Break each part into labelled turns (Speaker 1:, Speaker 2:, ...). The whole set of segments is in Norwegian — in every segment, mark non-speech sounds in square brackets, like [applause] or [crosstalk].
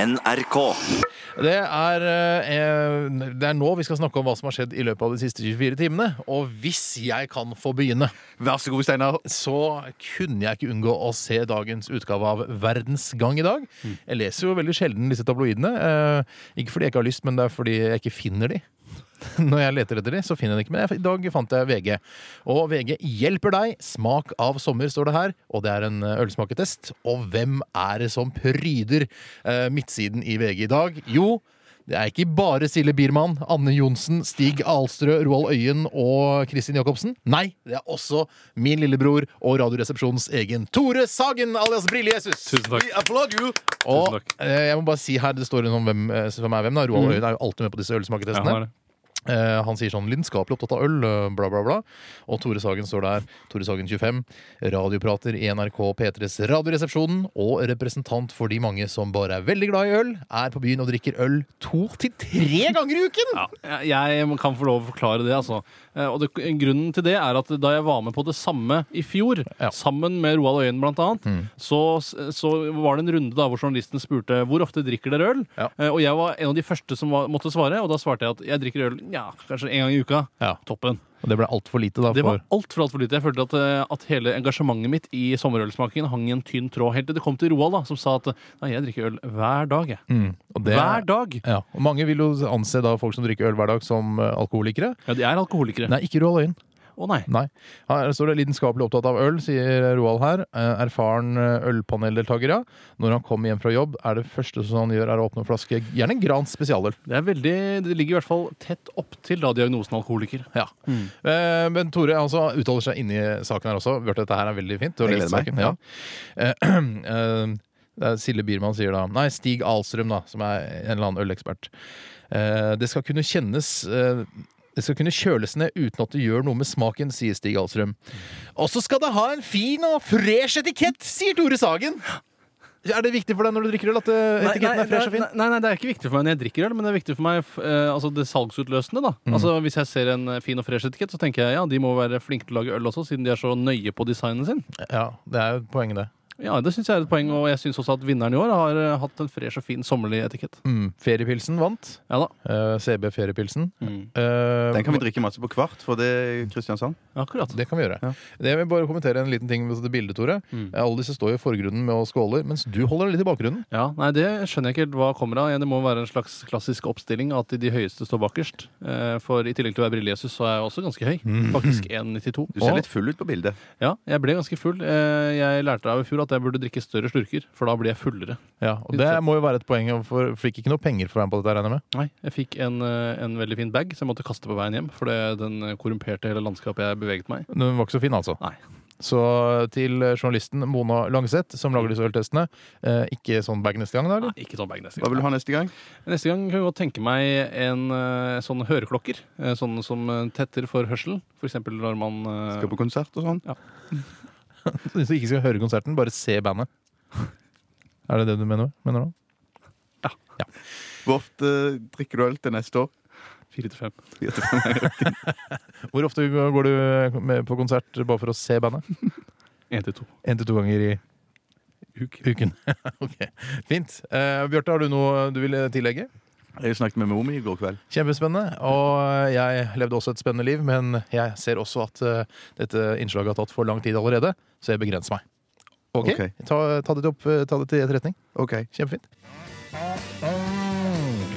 Speaker 1: NRK.
Speaker 2: Det er, eh, det er nå vi skal snakke om hva som har skjedd i løpet av de siste 24 timene. Og hvis jeg kan få begynne,
Speaker 3: Vær så god, Steinar.
Speaker 2: så kunne jeg ikke unngå å se dagens utgave av Verdens Gang i dag.
Speaker 3: Mm.
Speaker 2: Jeg leser jo veldig sjelden disse tabloidene. Eh, ikke fordi jeg ikke har lyst, men det er fordi jeg ikke finner de. [laughs] Når jeg leter etter de, så finner jeg de ikke. Men jeg, i dag fant jeg VG. Og VG hjelper deg. Smak av sommer, står det her. Og det er en eh, ølsmaketest. Og hvem er det som pryder eh, midtsiden i VG i dag? Jo, det er ikke bare Silje Biermann, Anne Johnsen, Stig Alstrø, Roald Øyen og Kristin Jacobsen. Nei, det er også min lillebror og Radioresepsjonens egen Tore Sagen alias Brille-Jesus.
Speaker 4: Tusen takk.
Speaker 3: We applaud you!
Speaker 2: Og
Speaker 4: Tusen takk. Mm.
Speaker 2: eh, jeg må bare si her, det står noe om hvem eh, som er hvem. da Roald Øyen er jo alltid med på disse ølsmaketestene.
Speaker 4: har det.
Speaker 2: Eh, han sier sånn 'lidenskapelig opptatt av øl', eh, bla, bla, bla. Og Tore Sagen står der. Tore Sagen 25. Radioprater i NRK P3s Radioresepsjonen og representant for de mange som bare er veldig glad i øl, er på byen og drikker øl to til tre ganger i uken!
Speaker 4: Ja, jeg kan få lov å forklare det, altså. Eh, Og det, grunnen til det er at da jeg var med på det samme i fjor,
Speaker 2: Ja. Mm.
Speaker 4: sammen med Roald Øyen blant annet, så, så var det en runde da hvor journalisten spurte hvor ofte drikker dere øl?
Speaker 2: Ja.
Speaker 4: Eh, Og jeg var en av de første som var, måtte svare, og da svarte jeg at jeg drikker øl ja, kanskje en gang i uka.
Speaker 2: Ja.
Speaker 4: Toppen.
Speaker 2: Og det ble altfor lite, da.
Speaker 4: Det var
Speaker 2: For,
Speaker 4: altfor alt for lite. Jeg følte at, eh, at hele engasjementet mitt i sommerølsmakingen hang i en tynn tråd. Helt til det kom til Roald, da, som sa at nei, jeg drikker øl hver dag. Jeg.
Speaker 2: Mm. og det,
Speaker 4: Hver dag!
Speaker 2: Ja, og mange vil jo anse da folk som drikker øl hver dag, som eh, alkoholikere.
Speaker 4: Ja, de er alkoholikere.
Speaker 2: Nei, ikke Roald Øyen.
Speaker 4: Å nei.
Speaker 2: Nei. Her står det 'lidenskapelig opptatt av øl', sier Roald her. Eh, Erfaren eh, ølpaneldeltaker, ja. Når han kommer hjem fra jobb, er det første som han gjør, er å åpne en flaske, gjerne en Grans spesialøl.
Speaker 4: Det, er veldig, det ligger i hvert fall tett opptil diagnosen alkoholiker.
Speaker 2: Ja. Eh, Men Tore altså, uttaler seg inni saken her også. Bjarte, dette her er veldig fint. Du har
Speaker 3: Jeg
Speaker 2: lest
Speaker 3: gleder
Speaker 2: saken. Ja. Eh, [clears throat] eh, det er Silje Biermann sier da Nei, Stig Alstrøm, da, som er en eller annen ølekspert. Eh, Det skal kunne kjennes eh, det skal kunne kjøles ned uten at det gjør noe med smaken, sier Stig Alstrøm. Og så skal det ha en fin og fresh etikett, sier Tore Sagen. Er det viktig for deg når du drikker øl at eh, etiketten er fresh og
Speaker 4: det,
Speaker 2: fin?
Speaker 4: er- nei, nei, det er ikke viktig for meg når jeg drikker øl, men det er viktig for meg f- eh, altså det salgsutløsende. da. Altså Hvis jeg ser en eh, fin og fresh etikett, så tenker jeg ja, de må være flinke til å lage øl også, siden de er så nøye på designen sin.
Speaker 2: Ja, det er jo poenget, det.
Speaker 4: Ja, Det syns jeg er et poeng, og jeg syns også at vinneren i år har eh, hatt en fresh og fin sommerlig etikett.
Speaker 2: Mm. Feriepilsen vant.
Speaker 4: Ja da,
Speaker 2: Eh, CB Feriepilsen.
Speaker 4: Mm.
Speaker 2: Eh,
Speaker 3: Den kan vi drikke masse på kvart, for det er Kristiansand.
Speaker 4: akkurat.
Speaker 2: Det kan vi gjøre.
Speaker 3: Ja.
Speaker 2: Det vil jeg bare kommentere en liten ting med det bildet, Tore. Eh, Alle disse står jo i forgrunnen med og skåler, mens du holder deg litt i bakgrunnen.
Speaker 4: Ja, nei, Det skjønner jeg ikke helt hva kommer av. Det må være en slags klassisk oppstilling at de høyeste står bakerst. Eh, For i tillegg til å være brille-Jesus, så er jeg også ganske høy. Faktisk 1,92.
Speaker 3: Du ser
Speaker 4: Og-
Speaker 3: litt full ut på bildet.
Speaker 4: Ja, jeg ble ganske full. Eh, Jeg lærte av i fjor at jeg burde drikke større slurker, for da blir jeg fullere.
Speaker 2: og Det må jo være et poeng, for du fikk ikke noe penger for å være med på dette, regner jeg med.
Speaker 4: Nei, Jeg fikk en, eh, en veldig fin bag som jeg måtte kaste på veien hjem, for det- den korrumperte hele landskapet jeg beveget meg i.
Speaker 2: Den var ikke så fin, altså.
Speaker 4: Nei.
Speaker 2: Så til eh, journalisten Mona Langseth, som lager disse øltestene, eh, ikke sånn bag neste gang, da?
Speaker 4: Nei,
Speaker 2: eller?
Speaker 4: ikke sånn bag neste
Speaker 3: Hva
Speaker 4: gang.
Speaker 3: vil du ha neste gang?
Speaker 4: Neste gang kan jeg godt tenke meg en eh, sånn høreklokker. eh, Sånne som eh, tetter for hørselen. F.eks. når man eh,
Speaker 3: Skal på konsert og sånn?
Speaker 2: Så ikke skal høre konserten, bare se [laughs] bandet. Er det det du mener, mener nå?
Speaker 3: Hvor ofte eh, drikker du øl til neste år? [laughs]
Speaker 4: Fire til fem.
Speaker 2: Hvor ofte går du eh, med på konsert bare for å se bandet?
Speaker 4: Én til to.
Speaker 2: Én til to ganger i uken. [laughs] ok, Fint. Eh, Bjarte, har du noe du ville tillegge?
Speaker 3: Jeg snakket med mor mi i går kveld.
Speaker 2: Kjempespennende. Og eh, jeg levde også et spennende liv, men jeg ser også at eh, dette innslaget har tatt for lang tid allerede, så jeg begrenser meg. Ok?
Speaker 3: Ok.
Speaker 2: Ta, ta, det opp, eh, ta det til etterretning.
Speaker 3: Ok.
Speaker 2: Kjempefint.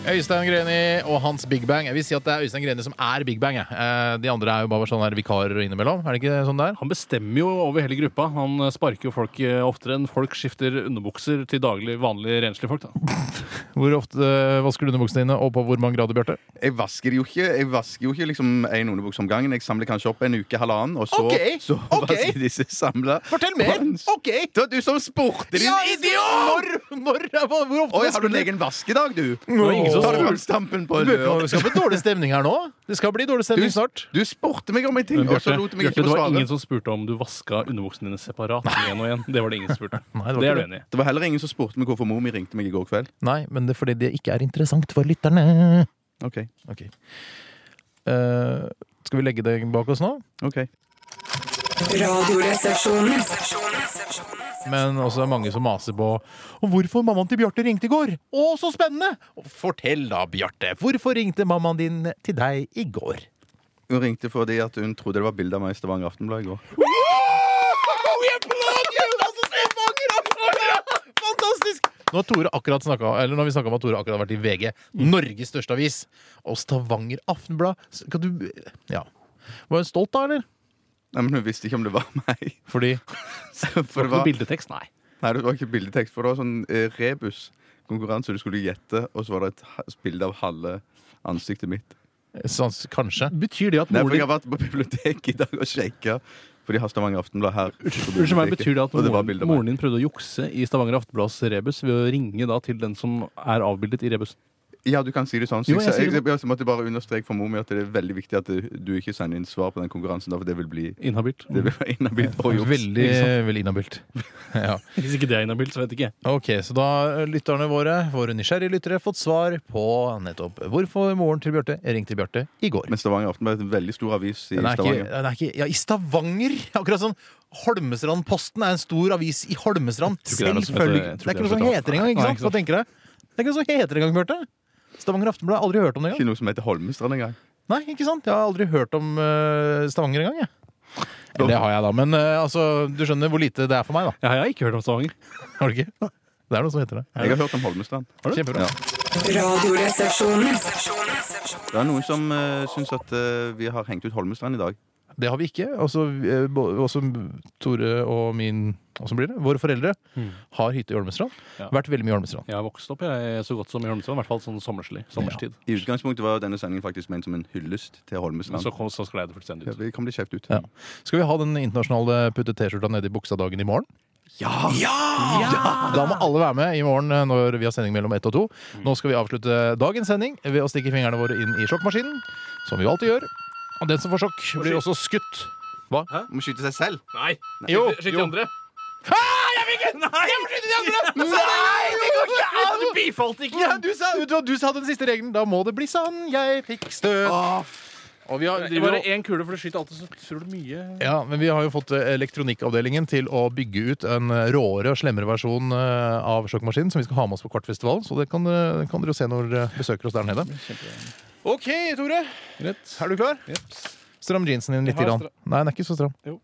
Speaker 2: Øystein Greni og hans Big Bang. Jeg vil si at det er Øystein Greni som er Big Bang. jeg. Eh, De andre er jo bare sånne her vikarer innimellom. Er det ikke sånn der?
Speaker 4: Han bestemmer jo over hele gruppa. Han eh, sparker jo folk eh, oftere enn folk skifter underbukser til daglig vanlige renslige folk. da.
Speaker 2: Hvor ofte eh, vasker du underbuksene dine, og på hvor mange grader, Bjarte?
Speaker 3: Jeg vasker det jo ikke Jeg vasker jo ikke liksom en underbukse om gangen. Jeg samler kanskje opp en uke, halvannen, og så,
Speaker 2: Ok,
Speaker 3: så
Speaker 2: ok.
Speaker 3: vasker jeg disse samla.
Speaker 2: Fortell mer! OK!
Speaker 3: Det var du som spurte, din idiot!
Speaker 2: Når, når, hvor ofte
Speaker 3: Oi, har du en egen vaskedag, du?
Speaker 4: var ingen som
Speaker 3: Tar du
Speaker 4: spurte.
Speaker 3: ølstampen på en
Speaker 2: Det
Speaker 3: lørdag?
Speaker 2: skal bli dårlig stemning her nå. Det skal bli dårlig stemning snart.
Speaker 3: Du spurte meg om en ting,
Speaker 4: Men
Speaker 3: og
Speaker 4: Bjarte,
Speaker 3: så lot du meg
Speaker 4: Bjarte, det
Speaker 3: ikke få
Speaker 4: var
Speaker 3: svare.
Speaker 4: ingen som spurte om du vaska underbuksene dine separat. En og en. Det var det ingen som spurte.
Speaker 2: Nei, det var
Speaker 4: det, er
Speaker 2: ikke
Speaker 4: du enig i.
Speaker 3: Det var heller ingen som spurte meg hvorfor mor mi ringte meg i går kveld.
Speaker 2: Nei, men det er fordi det ikke er interessant for lytterne.
Speaker 3: Ok,
Speaker 2: Ok. Eh, skal vi legge det bak oss nå?
Speaker 3: ok
Speaker 5: Radioresepsjonen.
Speaker 2: Men også er det mange som maser på Og hvorfor mammaen til Bjarte ringte i går. Å, så spennende! Fortell da, Bjarte. Hvorfor ringte mammaen din til deg i går?
Speaker 3: Hun ringte fordi at hun trodde det var bilde av meg i Stavanger Aftenblad i går.
Speaker 2: Fantastisk! Nå har Tore akkurat snakket, eller når vi snakket om at Tore akkurat har vært i VG, Norges største avis, og Stavanger Aftenblad S- Kan du Ja. Var hun stolt, da, eller?
Speaker 3: Nei, men Hun visste ikke om det var [laughs] meg.
Speaker 2: Fordi
Speaker 3: For det
Speaker 4: Var det noe
Speaker 3: var,
Speaker 4: [laughs] bildetekst? Nei.
Speaker 3: nei, det var ikke bildetekst, for det var sånn eh, rebuskonkurranse. Du skulle gjette, og så var det et ha- bilde av halve ansiktet mitt.
Speaker 2: sans, Kanskje.
Speaker 4: Betyr det at
Speaker 3: Nei,
Speaker 4: moren din
Speaker 3: for Jeg har vært på biblioteket i dag og sjekka, for de har Stavanger Aftenblad her. på
Speaker 4: Unnskyld meg,
Speaker 3: biblioteket.
Speaker 4: betyr det at
Speaker 3: Og det var
Speaker 4: moren,
Speaker 3: bilde av meg.
Speaker 4: moren din prøvde å jukse i Stavanger Afteblads rebus ved å ringe da til den som er avbildet i rebusen?
Speaker 3: Ja, du kan si det sånn. Så
Speaker 4: Jo,
Speaker 3: jeg,
Speaker 4: jeg
Speaker 3: jeg,
Speaker 4: sier
Speaker 3: jeg, jeg måtte bare understreke for mor mi at det er veldig viktig at du, du ikke sender inn svar på den konkurransen, da, for det vil bli
Speaker 4: Inhabilt.
Speaker 3: det vil være inhabilt og juks.
Speaker 2: Veldig,
Speaker 4: ikke
Speaker 2: veldig inhabilt. [laughs] Ja.
Speaker 4: Hvis ikke det er inhabilt, så vet ikke jeg.
Speaker 2: Ok, så da har lytterne våre, våre nysgjerrige lyttere, fått svar på nettopp hvorfor moren til Bjarte ringte Bjarte i går.
Speaker 3: Men Stavanger Aftenblad er en veldig stor avis i
Speaker 2: Den er ikke,
Speaker 3: Stavanger.
Speaker 2: den er ikke, ja, I Stavanger! [laughs] Akkurat som Holmestrandposten er en stor avis i Holmestrand.
Speaker 4: tror ikke det er noe som
Speaker 2: Selvfølgelig.
Speaker 4: heter-
Speaker 2: Det er
Speaker 4: jeg tror ikke
Speaker 2: ikke noe som
Speaker 4: det er
Speaker 2: heter engang, ikke
Speaker 4: Nei,
Speaker 2: sant?
Speaker 4: ikke sant.
Speaker 2: Hva tenker du? Det er ikke noe som heter engang, Bjarte. Stavanger Aftenblad har jeg aldri hørt om det engang.
Speaker 3: Ikke noe som heter Holmestrand engang.
Speaker 2: Nei, ikke sant? Jeg har aldri hørt om eh, Stavanger engang, jeg. Eller det har jeg, da. Men eh, altså, du skjønner hvor lite det er for meg, da.
Speaker 4: Ja, jeg har ikke hørt om Stavanger.
Speaker 2: [laughs] Har du ikke? Det er noe som heter det.
Speaker 3: Jeg har hørt om Holmestrand.
Speaker 2: Kjempebra.
Speaker 3: Ja.
Speaker 1: Radioresepsjonen.
Speaker 3: Det er noen som uh, syns at eh, vi har hengt ut Holmestrand i dag.
Speaker 2: Det har vi ikke. Også, eh, bo- også Tore og min Åssen blir det? Våre foreldre har hytte i Holmestrand.
Speaker 4: Ja.
Speaker 2: Vært veldig mye i Holmestrand.
Speaker 4: Jeg har vokst opp jeg er så godt som i Holmestrand, i hvert fall sånn sommerslig. Sommerstid.
Speaker 3: I utgangspunktet var denne sendingen faktisk ment som en hyllest til Holmestrand.
Speaker 4: Men så, kom, så sklei det fullstendig
Speaker 3: ja,
Speaker 4: ut.
Speaker 3: vi kan bli skjevt ut.
Speaker 2: Ja. Skal vi ha den internasjonale putte T-skjorta nedi buksa-dagen i morgen? Da må alle være med i morgen eh, når vi har sending mellom ett og to. Nå skal vi avslutte dagens sending ved å stikke fingrene våre inn i sjokkmaskinen, som vi jo alltid gjør. Og den som får sjokk, blir også skutt. Hva?
Speaker 3: Må skyte seg selv.
Speaker 4: Nei!
Speaker 2: Jo,
Speaker 4: Skyt de
Speaker 2: jo.
Speaker 4: andre!
Speaker 2: Nei! det går ikke an!
Speaker 4: Du bifalt ikke!
Speaker 2: Ja, du, sa, du, du sa den siste regelen. Da må det bli sånn. Jeg fikk støt. Og vi har,
Speaker 4: Det
Speaker 2: driver,
Speaker 4: var
Speaker 2: og-
Speaker 4: én kule, for du skyter alltid så utrolig mye.
Speaker 2: Ja, men vi har jo fått eh, elektronikkavdelingen til å bygge ut en eh, råere og slemmere versjon eh, av sjokkmaskinen som vi skal ha med oss på Kvartfestivalen. Så det kan, eh, kan dere jo se når dere besøker oss der nede. OK, Tore.
Speaker 4: Rett.
Speaker 2: Er du klar? Stram jeansen din litt.
Speaker 4: Jeg har
Speaker 2: Grann.
Speaker 4: stra-
Speaker 2: Nei, den er ikke så stram.
Speaker 4: Jo.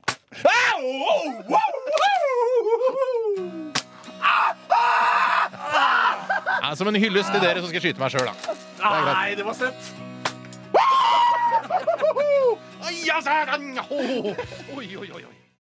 Speaker 2: Nei, som en hyllest til dere, så skal jeg skyte meg sjøl, da.
Speaker 4: Nei, det var søtt!
Speaker 2: Oi, altså, den- ho, ho, ho. Oi, oi, oi, oi.